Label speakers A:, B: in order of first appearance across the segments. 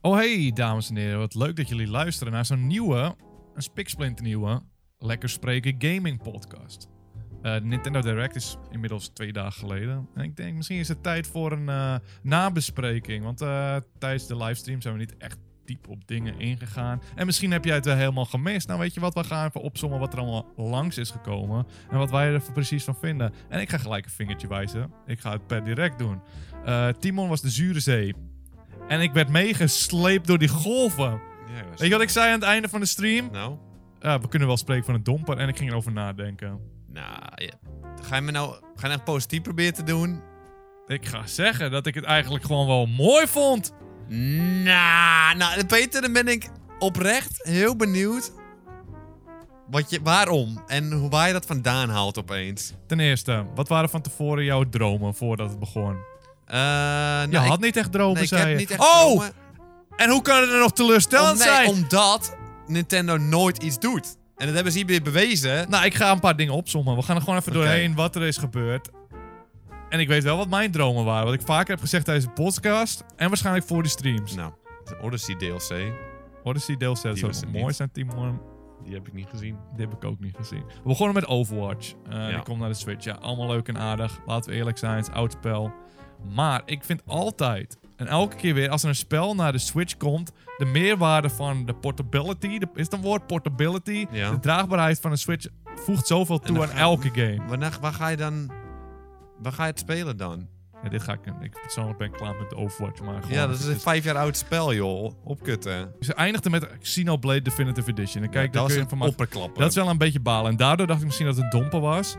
A: Oh hey, dames en heren. Wat leuk dat jullie luisteren naar zo'n nieuwe, een spiksplinter nieuwe, Lekker Spreken Gaming podcast. Eh, de Nintendo Direct is inmiddels twee dagen geleden. En ik denk, misschien is het tijd voor een eh, nabespreking. Want eh, tijdens de livestream zijn we niet echt diep op dingen ingegaan. En misschien heb jij het wel helemaal gemist. Nou weet je wat, we gaan even opzommen wat er allemaal langs is gekomen. En wat wij er precies van vinden. En ik ga gelijk een vingertje wijzen. Ik ga het per direct doen. Eh, Timon was de zure zee. En ik werd meegesleept door die golven.
B: Ja, dat is-
A: Weet je wat ik zei aan het einde van de stream?
B: Nou,
A: Ja, we kunnen wel spreken van een domper. En ik ging erover nadenken.
B: nou ja. ga je me nou, ga je nou echt positief proberen te doen?
A: Ik ga zeggen dat ik het eigenlijk gewoon wel mooi vond.
B: Nou, nou, Peter, dan ben ik oprecht heel benieuwd wat je, waarom en hoe- waar je dat vandaan haalt opeens.
A: Ten eerste, wat waren van tevoren jouw dromen voordat het begon?
B: Eh, nou,
A: Je had niet echt dromen,
B: nee, ik
A: zei
B: heb
A: je.
B: niet echt
A: oh,
B: dromen.
A: en hoe kan het er nog teleurstellend
B: Om- nee,
A: zijn?
B: omdat Nintendo nooit iets doet. En dat hebben ze hier weer bewezen.
A: Nou, ik ga een paar dingen opzommen. We gaan er gewoon even
B: Oké.
A: doorheen wat er is gebeurd. En ik weet wel wat mijn dromen waren. Wat ik vaker heb gezegd tijdens de podcast. En waarschijnlijk voor de streams.
B: Nou, de Odyssey DLC,
A: Odyssey deel 6
B: Die
A: zou
B: was er
A: mooi
B: niet.
A: zijn, Timon.
B: die heb ik niet gezien.
A: Die heb ik ook niet gezien. We begonnen met Overwatch. Eh, Die
B: Ja.
A: komt naar de Switch. Ja, allemaal leuk en aardig. Laten we eerlijk zijn, het is oud spel. Maar ik vind altijd, en elke keer weer, als er een spel naar de Switch komt, de meerwaarde van de portability, de, is het een woord portability?
B: Ja.
A: De draagbaarheid van een Switch voegt zoveel toe
B: dan
A: aan
B: ga-
A: elke game.
B: Wanneer, waar ga je dan, waar ga je het spelen dan?
A: Ja, dit ga ik, ik persoonlijk ben ik klaar met Overwatch, maar gewoon...
B: Ja, dat is een
A: het
B: vijf jaar oud spel, joh. Opkutten.
A: Ze eindigden met Xenoblade Definitive Edition. En kijk,
B: dat
A: daar
B: was
A: kun je
B: een
A: van maken.
B: opperklapper.
A: Dat is wel een beetje balen. En daardoor dacht ik misschien dat het een domper was.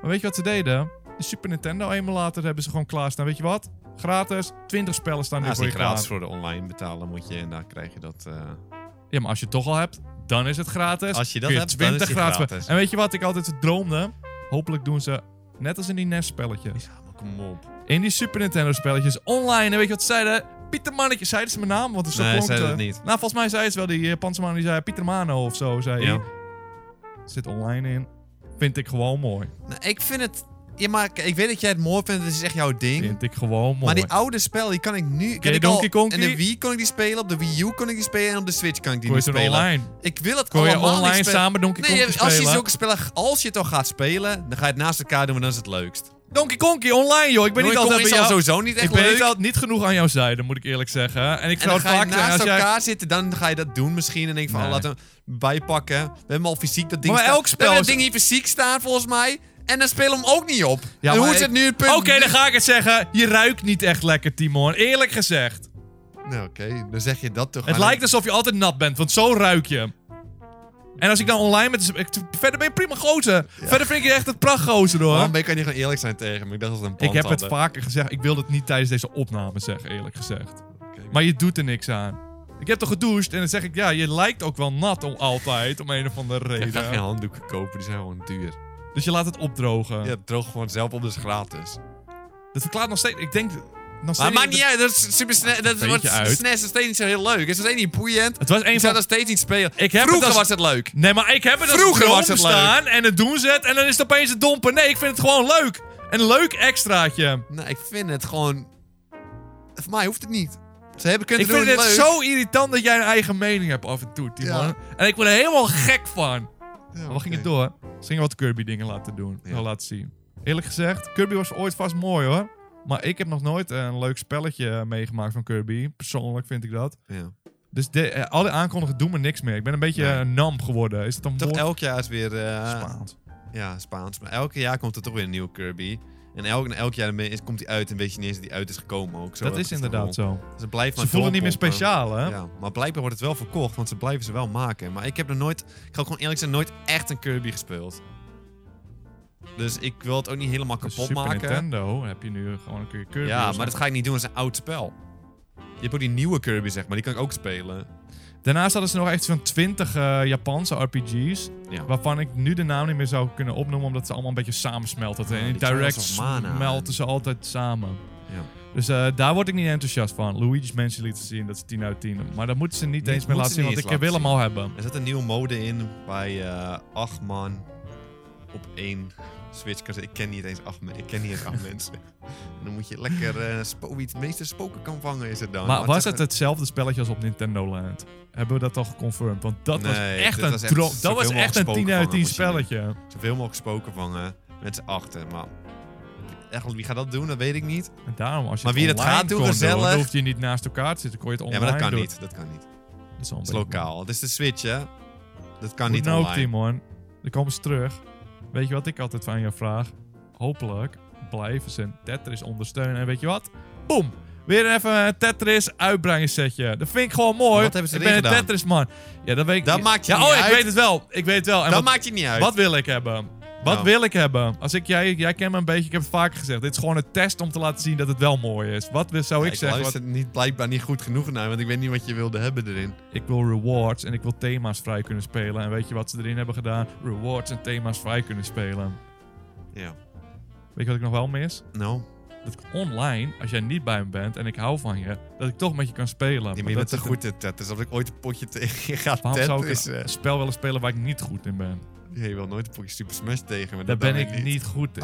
A: Maar weet je wat ze deden? De Super Nintendo emulator hebben ze gewoon klaarstaan. Weet je wat? Gratis. 20 spellen staan
B: Nou,
A: nu
B: als
A: voor
B: je
A: je
B: gratis
A: klaar.
B: voor de online betalen moet je en daar krijg je dat. eh,
A: Ja, maar als je het toch al hebt, dan is het gratis.
B: Als je dat
A: Kun
B: hebt, dan is die
A: spelen.
B: gratis.
A: En weet je wat ik altijd droomde? Hopelijk doen ze, net als in die NES-spelletjes,
B: Ja, maar kom op.
A: in die Super Nintendo-spelletjes online. En weet je wat ze zeiden? Pieter Mannetje. Zeiden ze mijn naam? Want het is zo
B: Nee,
A: klonk
B: zeiden
A: eh,
B: het niet.
A: Nou, volgens mij zei ze wel. Die Japanse man die zei Pieter Mano of zo. Zei
B: Ja.
A: hij. Zit online in. Vind ik gewoon mooi.
B: Nou, ik vind het. Ja, maar k- ik weet dat jij het mooi vindt, het is echt jouw ding.
A: Vind ik gewoon mooi.
B: Maar die oude spel, die kan ik nu. Ken
A: je
B: ik al-
A: Donkey Kong
B: En
A: die?
B: de Wii kon ik die spelen, op de Wii U kon ik die spelen en op de Switch kan ik die
A: Kon je
B: niet
A: toen
B: spelen.
A: online?
B: Ik wil het
A: Kon je
B: allemaal niet
A: online
B: spelen.
A: samen Donkey Kong
B: nee, als je
A: spelen?
B: zulke spellen, als je het al gaat spelen, dan ga je het naast elkaar doen, want dan is het leukst.
A: Donkey Konkie online, joh. Ik ben niet altijd bij jou.
B: sowieso niet echt
A: ik ben
B: leuk.
A: niet, altijd, niet genoeg aan jouw zijde, moet ik eerlijk zeggen. En ik
B: En
A: zou
B: dan
A: het
B: ga je
A: vaak zeggen
B: naast
A: als jij...
B: elkaar zitten, dan ga je dat doen misschien. En denk van,
A: Nee.
B: oh, laten we bijpakken. We hebben al fysiek dat ding
A: Maar
B: staan.
A: elk
B: We
A: spel
B: hebben
A: is-
B: dat ding hier fysiek staan, volgens mij. En dan spelen we hem ook niet op.
A: Ja,
B: en
A: maar
B: hoe is
A: ik-
B: het nu het punt?
A: Oké, dan ga ik het zeggen. Je ruikt niet echt lekker, Timon. Eerlijk gezegd.
B: Nou, oké. Dan zeg je dat toch.
A: Het lijkt alsof je altijd nat bent, want zo ruik je. En als ik dan online met... ik- Verder ben je prima gozer. Verder vind ik je echt een prachtgozer, hoor.
B: Waarom ben ik kan niet gewoon eerlijk zijn tegen me? Ik dacht dat het een
A: ik
B: pand
A: heb het
B: hadden.
A: vaker gezegd. Ik wil het niet tijdens deze opname zeggen, eerlijk gezegd.
B: Oké.
A: Maar je doet er niks aan. Ik heb toch gedoucht en dan zeg ik, ja, je lijkt ook wel nat om altijd, om een of andere
B: Ik ga
A: reden.
B: geen handdoeken kopen, die zijn gewoon duur.
A: Dus je laat het opdrogen.
B: Ja, het droogt gewoon zelf op, dus gratis.
A: Dat verklaart nog steeds, ik denk... Nog steeds
B: Maar het maakt niet uit, dat is super sne- dat
A: Beetje
B: wordt
A: uit.
B: SNES nog steeds niet zo heel leuk. Het is nog steeds niet boeiend.
A: Het was
B: Ik
A: een
B: zou
A: van...
B: dat steeds niet spelen.
A: Ik heb
B: Vroeger
A: het als-
B: was het leuk.
A: Nee, maar ik heb het als
B: Vroeger
A: droom
B: was het leuk.
A: staan en het doen ze het en dan is het opeens het domper. Nee, ik vind het gewoon leuk. Een leuk extraatje.
B: Nou, ik vind het gewoon. Voor mij hoeft het niet. Ze hebben
A: Ik
B: kunnen doen
A: vind het
B: leuk.
A: zo irritant dat jij een eigen mening hebt af en toe, Timon.
B: Ja.
A: En ik word er helemaal gek van.
B: Ja,
A: Maar we gingen
B: oké.
A: door. Ze gingen wat Kirby dingen laten doen.
B: Ja.
A: Nou, laten zien. Eerlijk gezegd, Kirby was ooit vast mooi hoor. Maar ik heb nog nooit een leuk spelletje eh, meegemaakt van Kirby. Persoonlijk vind ik dat.
B: Ja.
A: Dus de, eh, alle aankondigingen doen me niks meer. Ik ben een beetje
B: Nee.
A: eh, nam geworden. Is het dan
B: Toch
A: woord?
B: elk jaar is weer. eh,
A: Spaans?
B: Ja, Spaans. Maar elk jaar komt er toch weer een nieuwe Kirby. En elk, en elk jaar ermee is- komt die uit en weet je niet eens dat die uit is gekomen ook. Zo
A: dat is inderdaad zo.
B: Ze, blijven
A: Ze
B: maar
A: voelen niet meer
B: doorpompen.
A: speciaal hè?
B: Ja, maar blijkbaar wordt het wel verkocht, want ze blijven ze wel maken. Maar ik heb er nooit, ik ga ook gewoon eerlijk zijn, nooit echt een Kirby gespeeld. Dus ik wil het ook niet helemaal
A: Dus
B: kapot
A: Super
B: maken.
A: Nintendo heb je nu gewoon een keer Kirby.
B: Ja,
A: of zo.
B: maar dat ga ik niet doen, dat is een oud spel. Je hebt ook die nieuwe Kirby, zeg maar, die kan ik ook spelen.
A: Daarnaast hadden ze nog echt zo'n 20 eh, Japanse RPG's.
B: Ja.
A: Waarvan ik nu de naam niet meer zou kunnen opnoemen, omdat ze allemaal een beetje samensmelten.
B: Ja,
A: en in
B: Ah, die Trials
A: Direct
B: of Mana.
A: smelten ze altijd samen.
B: Ja.
A: Dus eh, daar word ik niet enthousiast van. Luigi's Mansion lieten zien, dat is 10 uit 10. Maar dat moeten ze niet
B: Nee,
A: eens meer
B: moeten
A: laten
B: ze
A: zien, want
B: niet
A: ik wil
B: eens
A: hem al hebben.
B: Er zat een nieuwe mode in bij eh acht man op één Switch kan zeggen, ik ken niet eens acht mensen. Ik ken niet eens acht mensen. En dan moet je lekker eh, spo- wie het meeste spoken kan vangen is het dan.
A: Maar was het
B: toch-
A: hetzelfde spelletje als op Nintendo Land? Hebben we dat al geconfirmed? Want dat was
B: Nee,
A: echt
B: dit
A: een
B: was echt
A: drop. Dat
B: zoveel
A: was
B: mogelijk
A: echt een 10 uit
B: spoken
A: 10
B: vangen moet
A: spelletje.
B: zoveel mogelijk spoken vangen met z'n achten? Maar echt, wie gaat dat doen? Dat weet ik niet.
A: En daarom, als je
B: Maar
A: het
B: wie dat
A: online
B: gaat doen,
A: kon
B: gezellig.
A: dan hoef je niet naast elkaar te zitten. Kon je het
B: ja,
A: online
B: maar dat kan
A: doen.
B: niet. Dat kan niet.
A: Dat is, wel een
B: Dat is
A: beetje-
B: lokaal. Het is de Switch, hè? Dat kan
A: Goed
B: niet
A: nou,
B: online.
A: Timon. Dan komen ze terug. Weet je wat ik altijd van jou vraag? Hopelijk blijven ze Tetris ondersteunen. En weet je wat? Boom! Weer even een Tetris uitbrengingssetje. Dat vind ik gewoon mooi.
B: Maar wat hebben ze
A: ik ben
B: erin
A: een
B: gedaan?
A: Tetris man. Ja, dat weet ik
B: Dat
A: niet.
B: maakt je
A: ja,
B: niet
A: oh, ik
B: uit.
A: weet het wel. Ik weet het wel. En
B: Dat
A: wat,
B: maakt je niet uit.
A: wat wil ik hebben? Wat
B: Nou.
A: wil ik hebben? Als ik, jij, jij kent me een beetje, ik heb het vaker gezegd. Dit is gewoon een test om te laten zien dat het wel mooi is. Wat wil- zou
B: Ja,
A: ik,
B: ik
A: zeggen? Wat-
B: luister niet, blijkbaar niet goed genoeg naar, want ik weet niet wat je wilde hebben erin.
A: Ik wil rewards en ik wil thema's vrij kunnen spelen. En weet je wat ze erin hebben gedaan? Rewards en thema's vrij kunnen spelen.
B: Ja.
A: Weet je wat ik nog wel mis?
B: Nou,
A: Dat ik online, als jij niet bij me bent en ik hou van je, dat ik toch met je kan spelen.
B: je
A: Maar
B: bent
A: dat
B: te
A: is het-
B: goed in Tetris. dus Als ik ooit een potje tegen je ga
A: Waarom zou ik
B: Tetris...
A: een
B: eh,
A: spel willen spelen waar ik niet goed in ben?
B: Je wil nooit een potje Super Smash tegen me.
A: Daar
B: dat
A: ben
B: dan
A: ik
B: weer
A: niet goed in.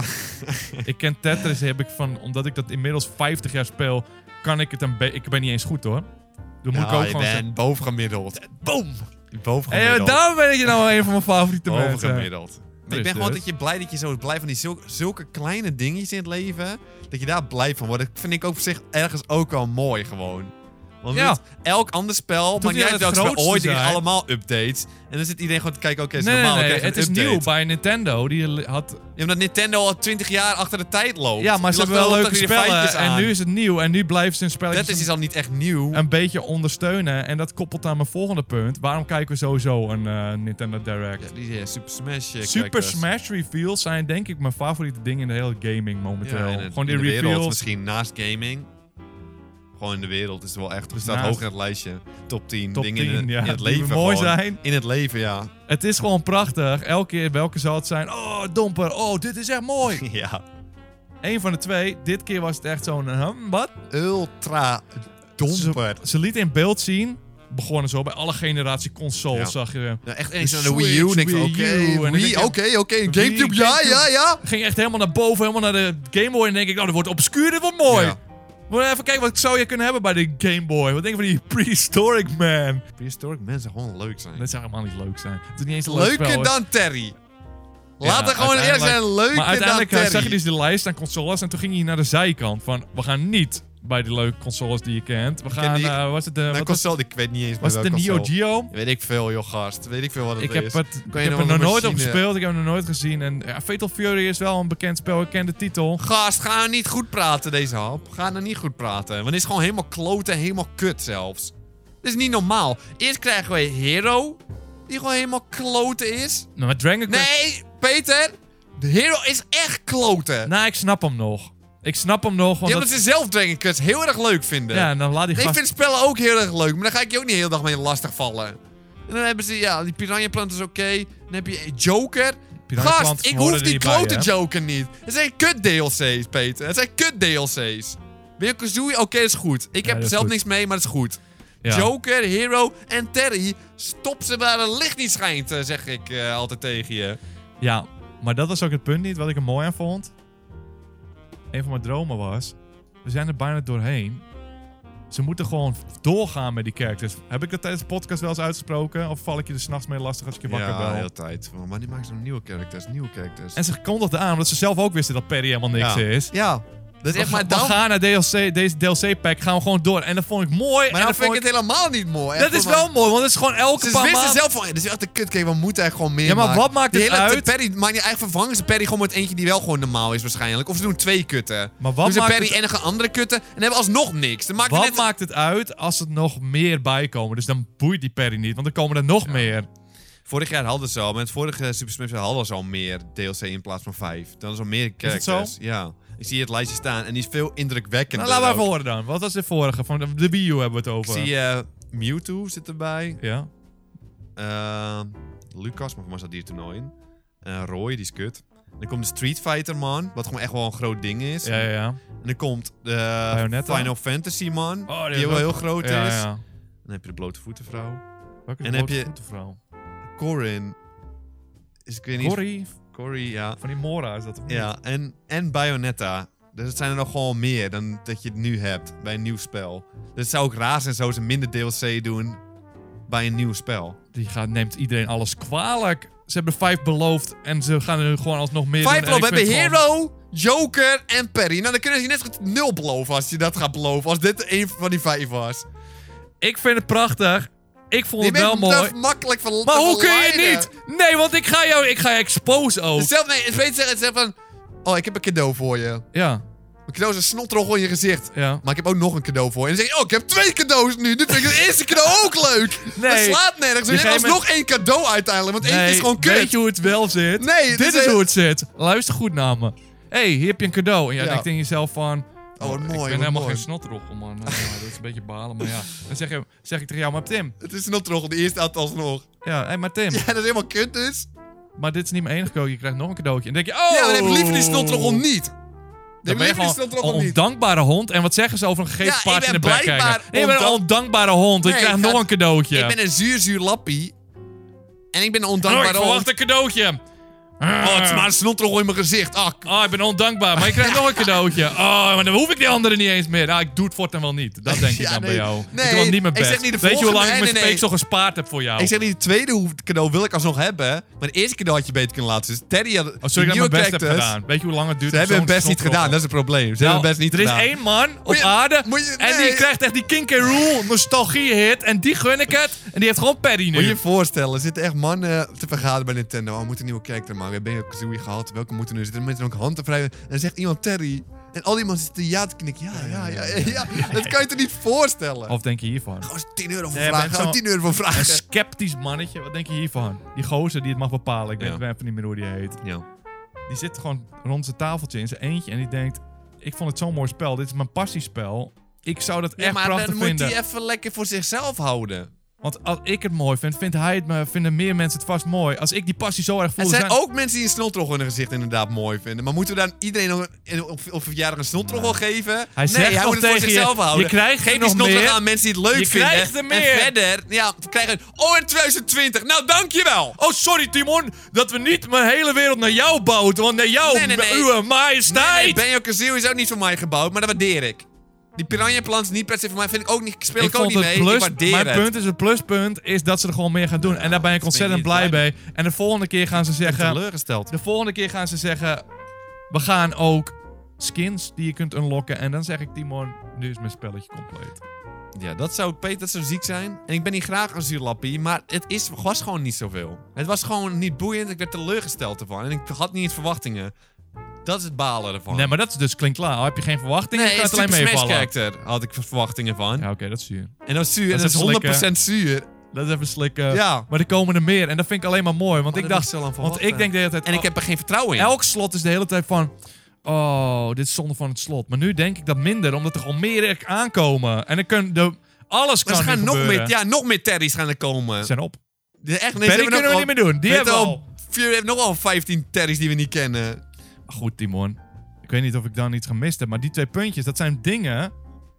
A: ik ken Tetris, heb ik van, omdat ik dat inmiddels 50 jaar speel, kan ik het een beetje. Ik ben niet eens goed hoor. Dan moet
B: Ja,
A: ik ook
B: Nou, je
A: gewoon. zeggen-
B: bent bovengemiddeld.
A: Boom! Hey,
B: Bovengemiddeld.
A: daarom ben je nou een van mijn favoriete mensen.
B: bovengemiddeld.
A: Dus
B: eh, ik ben gewoon
A: dus.
B: dat je blij dat je zo blij van die zulke, zulke kleine dingetjes in het leven. Dat je daar blij van wordt. Dat vind ik ook op zich ergens ook wel mooi gewoon. Want
A: Ja.
B: met elk ander spel, maar
A: niet
B: niet
A: aan het
B: uit welk spel,
A: grootste
B: ooit
A: zijn.
B: allemaal updates. En dan zit iedereen gewoon te kijken, oké, het
A: Nee,
B: is normaal,
A: nee,
B: we
A: nee,
B: krijgen
A: het
B: een
A: is
B: update.
A: nieuw bij Nintendo. Die li- had,
B: Ja, omdat Nintendo al twintig jaar achter de tijd loopt.
A: ja, maar
B: Die
A: ze hebben
B: lacht
A: wel
B: altijd
A: leuke
B: tegen die
A: spellen.
B: feitjes
A: En
B: aan.
A: nu is het nieuw. En nu blijven ze hun spelletjes
B: Dat is al niet echt nieuw.
A: een, een beetje ondersteunen. En dat koppelt aan mijn volgende punt. Waarom kijken we sowieso een eh, Nintendo Direct?
B: Ja, die eh, Super Smash. eh,
A: Super
B: kijkers.
A: Smash reveals zijn denk ik mijn favoriete dingen in de hele gaming momenteel.
B: Ja, in het-
A: Gewoon die
B: in de
A: reveals.
B: wereld misschien naast gaming. Gewoon in de wereld is het wel echt. Het staat
A: Naast-
B: hoog in het lijstje. Top 10
A: Top
B: dingen in,
A: 10,
B: het-
A: ja,
B: in het
A: die
B: leven.
A: mooi
B: gewoon.
A: zijn.
B: In het leven, ja.
A: Het is gewoon prachtig. Elke keer, welke zal het zijn? Oh, domper. Oh, dit is echt mooi.
B: ja.
A: Eén van de twee. Dit keer was het echt zo'n... hm, wat?
B: Ultra domper.
A: Ze lieten in beeld zien... Begonnen zo bij alle generatie consoles,
B: Ja.
A: zag je.
B: Nou, echt eens aan
A: De
B: de Wii U. En ik van,
A: Switch,
B: oké,
A: Wii U, en dan denk
B: Wii,
A: je-
B: oké, oké.
A: Wii,
B: Gamecube, ja,
A: Gamecube.
B: ja, ja.
A: ging echt helemaal naar boven, helemaal naar de Game Boy. En denk ik, oh, dat wordt obscuur, dit wordt mooi.
B: Ja.
A: Moet even kijken, wat zou je kunnen hebben bij de Game Boy? Wat denk je van die Prehistoric Man?
B: Prehistoric mensen gewoon leuk zijn.
A: Dat zou helemaal niet leuk zijn. Het is niet eens een leuk spel,
B: Leuker
A: hoor.
B: dan Terry. Laat
A: Ja,
B: er gewoon eerlijk
A: uiteindelijk-
B: zijn. Leuker
A: Maar uiteindelijk
B: dan
A: eh,
B: Terry.
A: zag je dus de lijst aan consoles en toen ging je naar de zijkant van, we gaan niet bij de leuke consoles die je kent. We gaan,
B: die-
A: eh, was het de, wat
B: Nou,
A: was,
B: console, ik weet niet eens
A: was het
B: welke
A: de Neo
B: console.
A: Geo?
B: Weet ik veel, joh, gast. Weet ik veel wat het
A: Ik
B: is.
A: heb, het, ik
B: je
A: heb
B: nog
A: er nog
B: een
A: nooit op
B: machine-
A: gespeeld, ik heb hem nog nooit gezien. En ja, Fatal Fury is wel een bekend spel, ik ken de titel.
B: Gast, ga nou niet goed praten deze hap. Ga nou niet goed praten. Want het is gewoon helemaal kloten, helemaal kut zelfs. Dit is niet normaal. Eerst krijgen we Hero, die gewoon helemaal kloten is.
A: Nou, maar Dragon Quest...
B: Nee, Peter, de Hero is echt kloten.
A: Nou, ik snap hem nog. Ik snap hem nog, want
B: ja,
A: dat-
B: omdat ze zelf Dragon Quest heel erg leuk vinden.
A: Ja, nou, en dan laat die
B: ik
A: gast...
B: vind spellen ook heel erg leuk, maar dan ga ik je ook niet de hele dag mee lastigvallen. En dan hebben ze, ja, die Piranha Plant is oké. Dan heb je Joker.
A: Piranha Plant
B: Gast, ik
A: hoorde
B: hoef
A: er
B: die
A: niet bij,
B: klote
A: hè?
B: Joker niet. Het zijn kut DLC's, Peter. Het zijn kut DLC's. Wil Kazooie? Oké, dat is goed. Ik heb
A: dat
B: er
A: is
B: zelf
A: goed.
B: niks mee, maar dat is goed.
A: Ja.
B: Joker, Hero en Terry, stop ze waar het licht niet schijnt, eh, zeg ik eh, altijd tegen je.
A: Ja, maar dat was ook het punt niet wat ik er mooi aan vond. Een van mijn dromen was... We zijn er bijna doorheen. Ze moeten gewoon doorgaan met die characters. Heb ik dat tijdens de podcast wel eens uitgesproken? Of val ik je er s'nachts mee lastig als ik je wakker
B: ja, de
A: bel?
B: hele tijd. Maar die maken ze nieuwe characters, nieuwe characters.
A: En ze kondigden aan, omdat ze zelf ook wisten dat Perry helemaal niks
B: ja.
A: is.
B: Ja, dat is echt
A: we,
B: maar
A: we
B: dan...
A: gaan naar DLC, deze DLC-pack, gaan we gewoon door. En dat vond ik mooi.
B: Maar
A: en
B: dan
A: dat
B: vind ik
A: vond
B: het helemaal niet mooi.
A: Dat
B: Echt,
A: is
B: want-
A: wel mooi, want het is gewoon elke
B: Ze
A: paar
B: wisten
A: maanden-
B: zelf van, dit is echt een kutgame, we moeten eigenlijk gewoon meer
A: Ja, maar
B: maken.
A: wat maakt
B: Die
A: het
B: hele
A: uit?
B: Perry, maar eigenlijk vervangen ze Perry gewoon met eentje die wel gewoon normaal is waarschijnlijk. Of ze doen twee kutten.
A: Maar wat
B: Doen ze
A: maakt
B: Perry
A: het-
B: en nog een andere kutten en hebben alsnog niks. Dan maakt het
A: Wat
B: net-
A: maakt het uit als er nog meer bij komen? Dus dan boeit die Perry niet, want dan komen er nog meer.
B: Vorig jaar hadden ze al, met het vorige Super Smash Bros. hadden ze al meer DLC in plaats van vijf. Dan is al meer
A: het
B: characters. Ja. Ik zie het lijstje staan en die is veel indrukwekkender
A: Nou, laten we even
B: ook.
A: horen dan. Wat was de vorige? Van de- de Wii U hebben we het
B: Ik
A: over.
B: zie eh, Mewtwo zit erbij.
A: Ja.
B: Eh, Lucas, maar voor mij zat die er toen al in. Eh, Roy, die is kut. Dan komt de Street Fighter man, wat gewoon echt wel een groot ding is.
A: Ja, ja, ja.
B: En dan komt de
A: Bayonetta?
B: Final Fantasy man,
A: Oh, die
B: die
A: ook-
B: wel heel groot
A: ja,
B: is.
A: ja.
B: Dan heb je de blote voetenvrouw.
A: Welke
B: En heb je-
A: grote vrouw?
B: Corin. Is, ik weet niet,
A: Corrie?
B: Corey, ja.
A: Van die Mora is dat toch? niet?
B: Ja, en, en Bayonetta. Dus het zijn er nog gewoon meer dan dat je het nu hebt bij een nieuw spel. Dus het zou ook raar zijn zo ze minder DLC doen bij een nieuw spel.
A: Die gaat, neemt iedereen alles kwalijk. Ze hebben vijf beloofd en ze gaan er nu gewoon alsnog meer doen.
B: Vijf
A: En ik
B: beloven. We hebben
A: vind gewoon-
B: Hero, Joker en Perry. Nou, dan kunnen ze je net zo goed nul beloven als je dat gaat beloven. Als dit een van die vijf was.
A: Ik vind het prachtig. Ik vond
B: Je
A: het wel
B: bent
A: mooi.
B: te makkelijk van
A: Maar hoe kun je niet? Nee, want ik ga jou... Ik ga je expose ook.
B: Zelf, nee, weet zeggen, zelf van... Oh, ik heb een cadeau voor je.
A: Ja,
B: Mijn cadeau is een snotrogel in je gezicht.
A: ja.
B: Maar ik heb ook nog een cadeau voor je. En dan zeg je, oh, ik heb twee cadeaus nu. Nu vind ik het eerste cadeau ook leuk.
A: Nee.
B: Dat slaat nergens.
A: Die
B: Er is
A: geven-
B: nog één cadeau uiteindelijk, want eentje
A: Nee,
B: is gewoon kut.
A: Weet je hoe het wel zit?
B: Nee,
A: dit
B: dit
A: is
B: is-
A: hoe het zit. Luister goed naar me. hey, hier heb je een cadeau. En jij
B: Ja.
A: denkt in jezelf van...
B: Oh, wat mooi,
A: Ik ben
B: wat
A: helemaal
B: mooi.
A: geen snotrochel, man. Nou, ja, dat is een beetje balen, maar ja. Dan zeg, je, zeg ik tegen jou, maar Tim.
B: Het is een snotrogel, de eerste had alsnog.
A: Ja, hey, maar Tim.
B: Ja, dat is helemaal kut dus.
A: Oh. Maar dit is niet mijn enige cadeautje. Je krijgt nog een cadeautje. En dan denk je, oh!
B: Ja, maar dan heb ik liever die snotrogel niet.
A: Dan ben
B: Dan
A: je
B: heb ik liever die
A: gewoon een
B: snotrogel niet.
A: ondankbare hond. En wat zeggen ze over een
B: Ja,
A: gegeven
B: ik
A: paard in de
B: ben
A: bek
B: blijkbaar
A: kijken? Nee, Je bent een
B: ondank-
A: ondankbare hond. Ik
B: Nee,
A: krijg
B: ik
A: nog
B: ga-
A: een cadeautje.
B: Ik ben een zuur, zuur lappie. En ik ben een
A: oh, ik
B: ondankbare
A: verwacht
B: hond.
A: een cadeautje.
B: Oh, het is maar een snotrogel in mijn gezicht. Ah, k-
A: Oh, ik ben ondankbaar, maar ik krijg nog een cadeautje. Oh, maar dan hoef ik die andere niet eens meer. Nou, ik doe het voortaan wel niet. Dat denk ik
B: Ja,
A: dan bij
B: nee.
A: jou. ik
B: Nee,
A: doe niet mijn
B: ik
A: best.
B: zeg niet de
A: Weet je hoe lang
B: volgende,
A: ik mijn
B: nee, nee, nee.
A: speeksel gespaard heb voor jou?
B: Ik zeg niet, het tweede hoe- cadeau wil ik alsnog hebben. Maar het eerste cadeau had je beter kunnen laten. Dus Teddy had
A: Als Oh, ik
B: die
A: dat mijn
B: nieuwe
A: best heb
B: characters,
A: gedaan. Weet je hoe lang het duurt?
B: dus. Ze
A: om
B: hebben hun
A: zo'n
B: best niet
A: snotroffel-
B: gedaan, dat is het probleem. Ze hebben
A: Nou,
B: hun best niet
A: er
B: gedaan.
A: is één man op
B: Moet je-
A: aarde
B: moet je-
A: en die
B: nee.
A: krijgt echt die King K. Rool nostalgie-hit. En die gun ik het. En die heeft gewoon Paddy nu.
B: Moet je je voorstellen, er zitten echt mannen te vergaderen bij Nintendo. Oh, we moeten een nieuwe character maken. We hebben Banjo Kazooie gehad. Welke moeten er nu zitten? Mensen ook handen vrij. En dan zegt iemand Terry. En al die mensen zitten ja te knikken. Ja, ja, ja, ja, ja. Dat kan je toch niet voorstellen?
A: Of denk je hiervan?
B: Gewoon eens 10 euro voor
A: Nee, maar
B: vragen.
A: het
B: Gewoon
A: zou-
B: 10 euro voor
A: Een
B: vragen.
A: sceptisch mannetje. Wat denk je hiervan? Die gozer die het mag bepalen. Ik
B: Ja.
A: weet even niet meer hoe die heet.
B: Ja.
A: Die zit gewoon rond zijn tafeltje in zijn eentje en die denkt... Ik vond het zo'n mooi spel. Dit is mijn passiespel. Ik zou dat echt
B: maar
A: prachtig
B: dan moet
A: vinden.
B: hij even lekker voor zichzelf houden.
A: Want als ik het mooi vind, vindt hij het, me- vinden meer mensen het vast mooi. Als ik die passie zo erg voel...
B: Er zijn
A: dan-
B: ook mensen die een snotrogel in hun gezicht inderdaad mooi vinden. Maar moeten we dan iedereen nog een, op, op verjaardag een snotrogel geven?
A: Hij
B: nee,
A: zegt
B: hij
A: nog
B: moet het voor
A: tegen je,
B: zichzelf houden.
A: je krijgt er
B: Geef die
A: nog
B: snotrogel
A: meer.
B: aan mensen die het leuk
A: Je
B: vinden.
A: krijgt er meer.
B: En verder, ja, we krijgen... Oh, in 2020. Nou, dankjewel.
A: Oh, sorry Timon, dat we niet mijn hele wereld naar jou bouwen. Want naar jou,
B: Nee, nee, nee.
A: uwe majesteit.
B: Nee, Benjo Kazoo is ook niet voor mij gebouwd, maar dat waardeer ik. Die piranha plant is niet per se voor mij. Vind ik ook niet, speel ik,
A: ik
B: ook
A: vond het
B: niet mee. ik
A: plus,
B: waardeer
A: mijn
B: het.
A: punt is, het pluspunt is dat ze er gewoon meer gaan doen. en daar ben ik
B: dat ben je
A: ontzettend blij
B: niet blij
A: mee. En de volgende keer gaan ze
B: Ik ben
A: zeggen...
B: teleurgesteld.
A: De volgende keer gaan ze zeggen: We gaan ook skins die je kunt unlocken. En dan zeg ik: Timon, nu is mijn spelletje compleet.
B: Ja, dat zou, Peter, dat zou ziek zijn. En ik ben niet graag een zuurlappie, maar het is, was gewoon niet zoveel. Het was gewoon niet boeiend. Ik werd teleurgesteld ervan. En ik had niet eens verwachtingen. Dat is het balen ervan.
A: Nee, maar dat is dus klinkt klaar. Al heb je geen verwachtingen,
B: nee
A: kan het
B: Super
A: alleen
B: Smash
A: meevallen.
B: Character had ik verwachtingen van.
A: Ja, oké, dat is zuur.
B: En dat is zuur.
A: Dat
B: Dat,
A: is
B: en dat is
A: even
B: 100% zuur.
A: Dat is even slikken.
B: Ja.
A: Maar er komen er meer. En dat vind ik alleen maar mooi. Want
B: Oh,
A: ik
B: daar
A: dacht,
B: heb ik zo lang van
A: want ik
B: wachten.
A: denk de hele tijd. oh,
B: En ik heb er geen vertrouwen in.
A: Elk slot is de hele tijd van. Oh, dit is zonde van het slot. Maar nu denk ik dat minder, omdat er gewoon meer aankomen. En dan kunnen de. Alles
B: maar
A: kan
B: ze Dus gaan
A: nu
B: nog
A: gebeuren.
B: meer, ja, nog meer terries gaan er komen.
A: Ze zijn op.
B: De- Echt, nee, ze
A: Perry
B: hebben
A: kunnen we
B: nog
A: niet meer doen. Die
B: al-
A: hebben we
B: Peter
A: al.
B: Fury heeft nogal 15 terries die we niet kennen.
A: Maar Goed, Timon. Ik weet niet of ik dan iets gemist heb, maar die twee puntjes, dat zijn dingen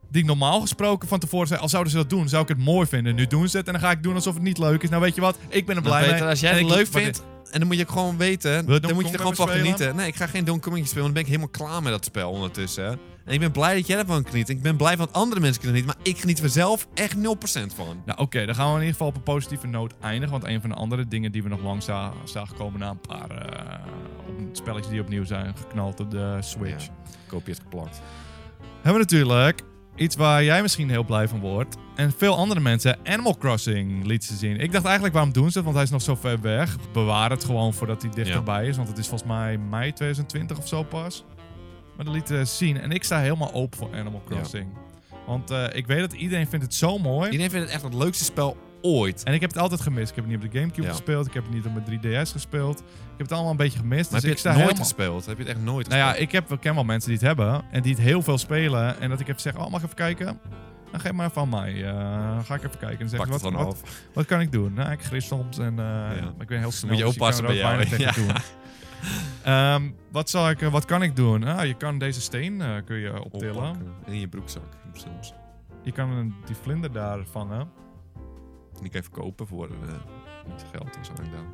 A: die ik normaal gesproken van tevoren zei, al zouden ze dat doen, zou ik het mooi vinden. Nu doen ze het en dan ga ik doen alsof het niet leuk is. Nou, weet je wat? Ik ben er blij
B: Peter,
A: mee.
B: als jij
A: En
B: het
A: ik-
B: leuk
A: maar
B: vindt,
A: dit-
B: en dan moet je gewoon weten,
A: Wil je
B: dan
A: Donkey
B: moet
A: Kong
B: je er gewoon
A: even
B: van
A: spelen?
B: genieten. Nee, ik ga geen Donkey Kong spelen, want dan ben ik helemaal klaar met dat spel ondertussen. En ik ben blij dat jij ervan geniet. Ik ben blij van andere mensen kunnen genieten, maar ik geniet er zelf echt 0% van.
A: Nou, oké, dan gaan we in ieder geval op een positieve noot eindigen. Want een van de andere dingen die we nog lang za- zagen komen na een paar eh, op- spelletjes die opnieuw zijn geknald op de Switch.
B: Ja. Kopje is geplakt.
A: Hebben we natuurlijk iets waar jij misschien heel blij van wordt. En veel andere mensen Animal Crossing liet ze zien. Ik dacht eigenlijk, waarom doen ze het? Want hij is nog zo ver weg. Bewaar het gewoon voordat hij dichterbij is. Want het is volgens mij mei 2020 of zo pas. Maar dat liet ze zien. En ik sta helemaal open voor Animal Crossing. Want eh, ik weet dat iedereen vindt het zo mooi.
B: Iedereen vindt het echt het leukste spel ooit.
A: En ik heb het altijd gemist. Ik heb het niet op de Gamecube
B: Ja.
A: gespeeld. Ik heb het niet op mijn 3DS gespeeld. Ik heb het allemaal een beetje gemist.
B: Maar
A: dus
B: heb
A: ik
B: je
A: sta
B: het nooit
A: helemaal...
B: gespeeld? Heb je het echt nooit
A: Nou ja,
B: gespeeld?
A: ik heb, ik ken wel mensen die het hebben en die het heel veel spelen. En dat ik even zeg, oh, mag ik even kijken? Dan geef maar even aan mij. Eh, ga ik even kijken. En dan zeg
B: pak
A: ik,
B: het
A: wat,
B: van
A: wat,
B: af.
A: wat kan ik doen? Nou, ik gris soms en eh, maar ik ben heel snel.
B: Moet je
A: dus kan
B: oppassen
A: er ook
B: bij jou,
A: weinig
B: hè?
A: tegen doen. Ehm, wat, zal ik, eh, wat kan ik doen? Ah, je kan deze steen eh, kun je optillen.
B: Oppakken. En in je broekzak soms.
A: Je kan een- die vlinder daar vangen.
B: En ik even kopen voor eh, niet geld of zo. denk ik dan.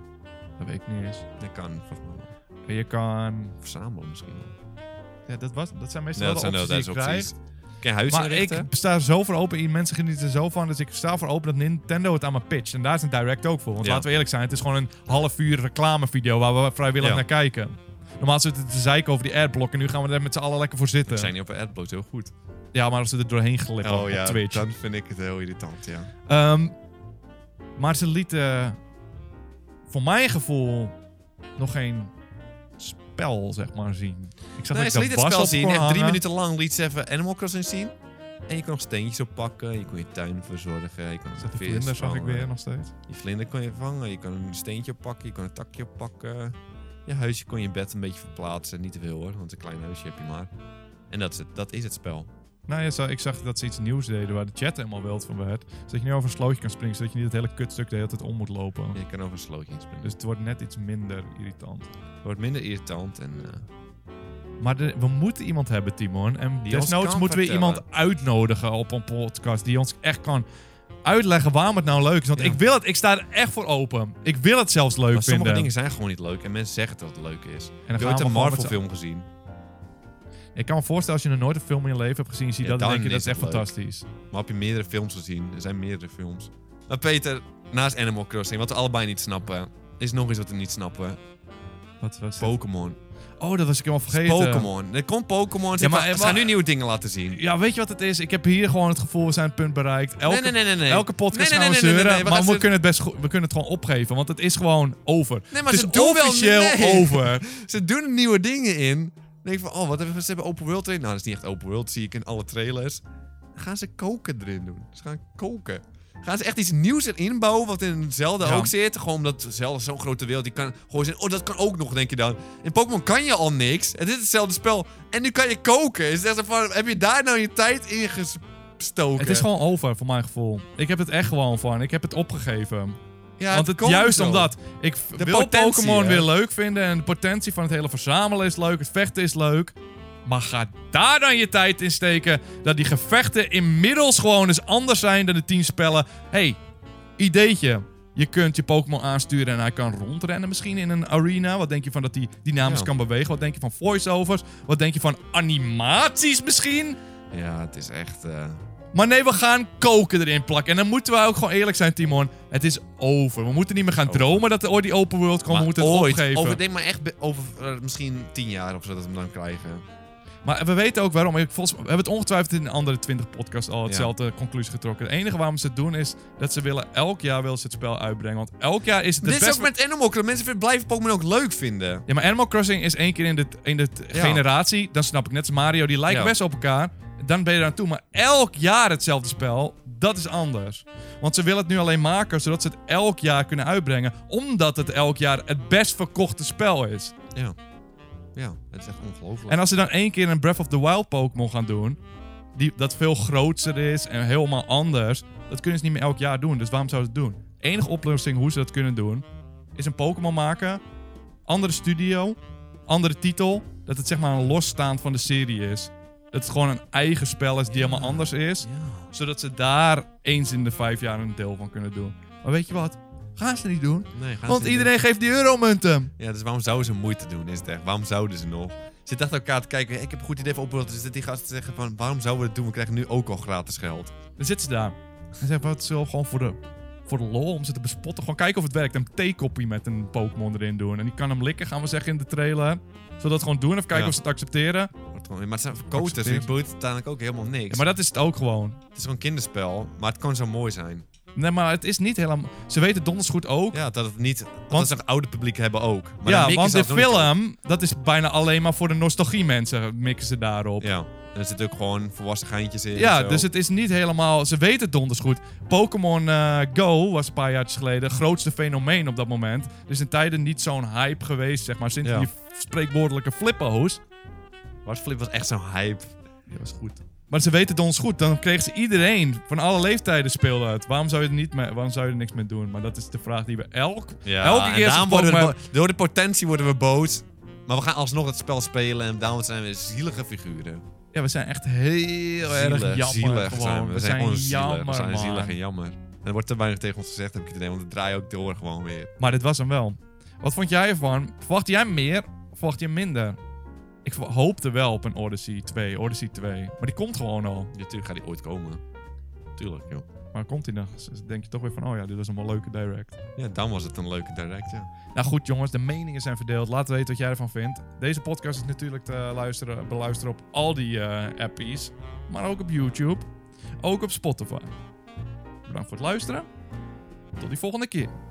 A: Dat weet ik niet eens.
B: Dat kan volgens mij wel.
A: En je kan...
C: Verzamelen misschien wel.
A: Ja, dat, was, dat zijn meestal
B: Nee, dat
A: wel
B: zijn
A: de
B: dat
A: opties
B: zijn
A: die je
B: opties.
A: krijgt.
B: Kan je huis
A: Maar ik
B: inrichten?
A: sta er zo voor open in. Mensen genieten er zo van. Dus ik sta voor open dat Nintendo het aan me pitcht. En daar is een direct ook voor. Want
B: Ja.
A: laten we eerlijk zijn. Het is gewoon een half uur reclamevideo waar we vrijwillig
B: Ja.
A: naar kijken. Normaal zitten we te zeiken over die adblock. En nu gaan we er met z'n allen lekker voor
B: Ik
A: zitten.
B: zijn Oh, niet op Adblock heel goed.
A: Ja, maar als ze er doorheen glippen op Twitch.
C: dan vind ik het heel irritant, ja.
A: Ehm, maar ze lieten voor mijn gevoel nog geen spel, zeg maar, zien. Ik zag
B: Nee,
A: dat
B: ze
A: ik
B: liet
A: de was
B: het spel
A: op
B: zien.
A: kon
B: Echt drie
A: hangen.
B: minuten lang liet ze even Animal Crossing zien. En je kon nog steentjes oppakken. Je kon je tuin verzorgen. Je kon
A: Zat de
B: vis
A: vlinder zag ik
B: vangen.
A: weer nog steeds.
B: Je vlinder kon je vangen. Je kon een steentje oppakken. Je kon een takje oppakken. Je huisje kon je bed een beetje verplaatsen. Niet te veel hoor, want een klein huisje heb je maar. En dat is het, dat is het spel.
A: Nou ja, zo- ik zag dat ze iets nieuws deden waar de chat helemaal wild van werd. Zodat je nu over een slootje kan springen, zodat je niet het hele kutstuk de hele tijd om moet lopen.
B: Je kan over een slootje inspringen. Dus
A: Dus het wordt net iets minder irritant.
B: het wordt minder irritant. En, eh,
A: Maar de- we moeten iemand hebben, Timon. En
B: Die ons
A: desnoods
B: kan
A: moeten we
B: vertellen.
A: iemand uitnodigen op een podcast die ons echt kan uitleggen waarom het nou leuk is. Want
B: Ja.
A: ik wil het, ik sta er echt voor open. Ik wil het zelfs leuk
B: maar
A: vinden.
B: sommige dingen zijn gewoon niet leuk. En mensen zeggen dat het leuk is.
A: en
B: Heb je
A: gaan
B: ooit
A: we
B: een
A: gewoon
B: Marvel
A: met z'n-
B: film gezien?
A: Ik kan me voorstellen, als je nog nooit een film in je leven hebt gezien, zie je
B: Ja,
A: dat en
B: dan
A: denk je, dat
B: is
A: is echt
B: het leuk.
A: fantastisch.
B: Maar heb je meerdere films gezien? Er zijn meerdere films. Maar Peter, naast Animal Crossing, wat we allebei niet snappen, is nog iets wat we niet snappen.
A: Wat was het?
B: Pokémon.
A: Oh, dat was ik helemaal vergeten.
B: Pokémon. Er komt Pokémon. Ze
A: Ja, maar-
B: gaan- ze
A: maar-
B: gaan nu nieuwe dingen laten zien.
A: Ja, weet je wat het is? Ik heb hier gewoon het gevoel, we zijn het punt bereikt. Elke,
B: nee, nee, nee, nee.
A: elke podcast
B: Nee, nee,
A: gaan we
B: nee, nee, nee,
A: zeuren,
B: nee, we
A: maar
B: gaan
A: we
B: ze-
A: kunnen, het best goed- we kunnen het gewoon opgeven, want het is gewoon over.
C: Nee,
A: het is officieel over.
C: Ze doen er nieuwe dingen in. Dan denk ik van, oh, wat hebben ze hebben open world erin. Nou, dat is niet echt open world, zie ik in alle trailers. Dan gaan ze koken erin doen. Ze gaan koken. Gaan ze echt iets nieuws erin bouwen, wat in Zelda
A: Ja.
C: ook zit. Gewoon omdat Zelda zo'n grote wereld, die kan gewoon zijn. Oh, dat kan ook nog, denk je dan. In Pokémon kan je al niks. En dit is hetzelfde spel. En nu kan je koken. Is het echt zo van, heb je daar nou je tijd in gestoken?
A: Het is gewoon over, voor mijn gevoel. Ik heb het echt gewoon van. Ik heb het opgegeven.
C: Ja,
A: Want het,
C: komt
A: juist
C: zo.
A: omdat ik v-
C: De
A: wil
C: potentie,
A: Pokémon
C: hè?
A: weer leuk vinden en de potentie van het hele verzamelen is leuk, het vechten is leuk. Maar ga daar dan je tijd in steken dat die gevechten inmiddels gewoon eens anders zijn dan de tien spellen. hey, ideetje. Je kunt je Pokémon aansturen en hij kan rondrennen misschien in een arena. Wat denk je van dat hij dynamisch
B: Ja.
A: kan bewegen? Wat denk je van voiceovers? Wat denk je van animaties misschien?
B: Ja, het is echt... eh,
A: Maar nee, we gaan koken erin plakken. En dan moeten we ook gewoon eerlijk zijn, Timon. Het is over. We moeten niet meer gaan
B: Over.
A: dromen dat er ooit die open world komt.
B: maar
A: we moeten het
B: ooit,
A: opgeven.
B: Over, denk maar echt be- over eh, misschien tien jaar of zo dat we hem dan krijgen.
A: Maar we weten ook waarom. Ik, volgens, we hebben het ongetwijfeld in de andere 20 podcasts al
B: Ja.
A: hetzelfde conclusie getrokken. Het enige waarom ze het doen is dat ze willen elk jaar willen ze het spel uitbrengen. Want elk jaar is het de
C: Dit is
A: beste...
C: ook met Animal Crossing. Mensen vind- blijven Pokémon ook leuk vinden.
A: Ja, maar Animal Crossing is één keer in de, in de t-
C: Ja.
A: generatie. Dan snap ik net als Mario. Die lijken
B: Ja.
A: best op elkaar. Dan ben je eraan toe. Maar elk jaar hetzelfde spel, dat is anders. Want ze willen het nu alleen maken zodat ze het elk jaar kunnen uitbrengen. Omdat het elk jaar het best verkochte spel is.
B: Ja. Ja, het is echt ongelooflijk.
A: En als ze dan één keer een Breath of the Wild Pokémon gaan doen. Die, dat veel groter is en helemaal anders. Dat kunnen ze niet meer elk jaar doen. Dus waarom zouden ze het doen? Enige oplossing hoe ze dat kunnen doen. Is een Pokémon maken. Andere studio. Andere titel. Dat het zeg maar een losstaand van de serie is. Dat het gewoon een eigen spel is die helemaal anders is.
B: Ja.
A: Zodat ze daar eens in de vijf jaar een deel van kunnen doen. Maar weet je wat? Gaan ze niet doen.
B: Nee, gaan ze
A: Want
B: niet
A: iedereen geeft die euromunten.
B: Ja, dus waarom zouden ze moeite doen, is het echt? Waarom zouden ze nog? Ze dachten elkaar te kijken, ik heb een goed idee voor opbeeld. Dus dat die gasten zeggen van, waarom zouden we het doen? We krijgen nu ook al gratis geld.
A: Dan zitten ze daar. En zeggen wat zullen we gewoon voor de, voor de lol om ze te bespotten. Gewoon kijken of het werkt. Een theekopie met een Pokémon erin doen. En die kan hem likken, gaan we zeggen in de trailer. Zullen we dat gewoon doen? Of kijken
B: Ja.
A: of ze het accepteren.
B: Wordt gewoon- Maar het zijn verkoters, dus
A: Accepteerd.
B: het boeit uiteindelijk ook helemaal niks.
A: Ja, maar dat is het ook gewoon.
B: Het is gewoon kinderspel, maar het kan zo mooi zijn.
A: Nee, maar het is niet helemaal... Ze weten donders goed ook. Ja,
B: Ja, dat het niet...
A: Want-
B: Want ze het oude publiek hebben ook. Maar dan mikken
A: want
B: ze
A: de
B: alsnog niet op.
A: film, dat is bijna alleen maar voor de nostalgie mensen mikken ze daarop. Ja,
B: Ja, en er zitten ook gewoon volwassen geintjes in. en zo.
A: dus het is niet helemaal... Ze weten het donders goed. Pokémon eh, Go was een paar jaar geleden het grootste fenomeen op dat moment. Er is in tijden niet zo'n hype geweest, zeg maar. Sinds
B: Ja.
A: die spreekwoordelijke flippo's.
B: Wars Flip was echt zo'n hype.
A: Ja, was goed. Maar ze weten het ons goed. Dan kregen ze iedereen van alle leeftijden speelde het. Waarom zou je er, niet mee, waarom zou je er niks mee doen? Maar dat is de vraag die we elk, elke
B: en
A: keer als
B: daarom
A: we
B: worden we
A: Pokémon-
B: bo- Door de potentie worden we boos. Maar we gaan alsnog het spel spelen en daarom zijn we zielige figuren.
A: Ja, we zijn echt heel erg
B: zielig,
A: jammer.
B: zielig
A: gewoon.
B: zijn we. We zijn, gewoon zielig.
A: jammer,
B: we zijn
A: man.
B: zielig en jammer. En er wordt te weinig tegen ons gezegd, heb ik het idee, want we draaien ook door gewoon weer.
A: Maar dit was hem wel. Wat vond jij ervan? Verwacht jij meer verwacht je minder. Ik verwa- hoopte wel op een Odyssey 2, Odyssey 2. Maar die komt gewoon al.
D: Natuurlijk gaat die ooit komen. Tuurlijk, joh.
A: Maar komt die nog? Dus denk je toch weer van, oh ja, dit was een wel leuke direct.
D: Ja, dan was het een leuke direct, ja.
A: Nou goed, jongens, de meningen zijn verdeeld. Laat weten wat jij ervan vindt. Deze podcast is natuurlijk te luisteren, beluisteren op al die eh appies. Maar ook op YouTube. Ook op Spotify. Bedankt voor het luisteren. Tot die volgende keer.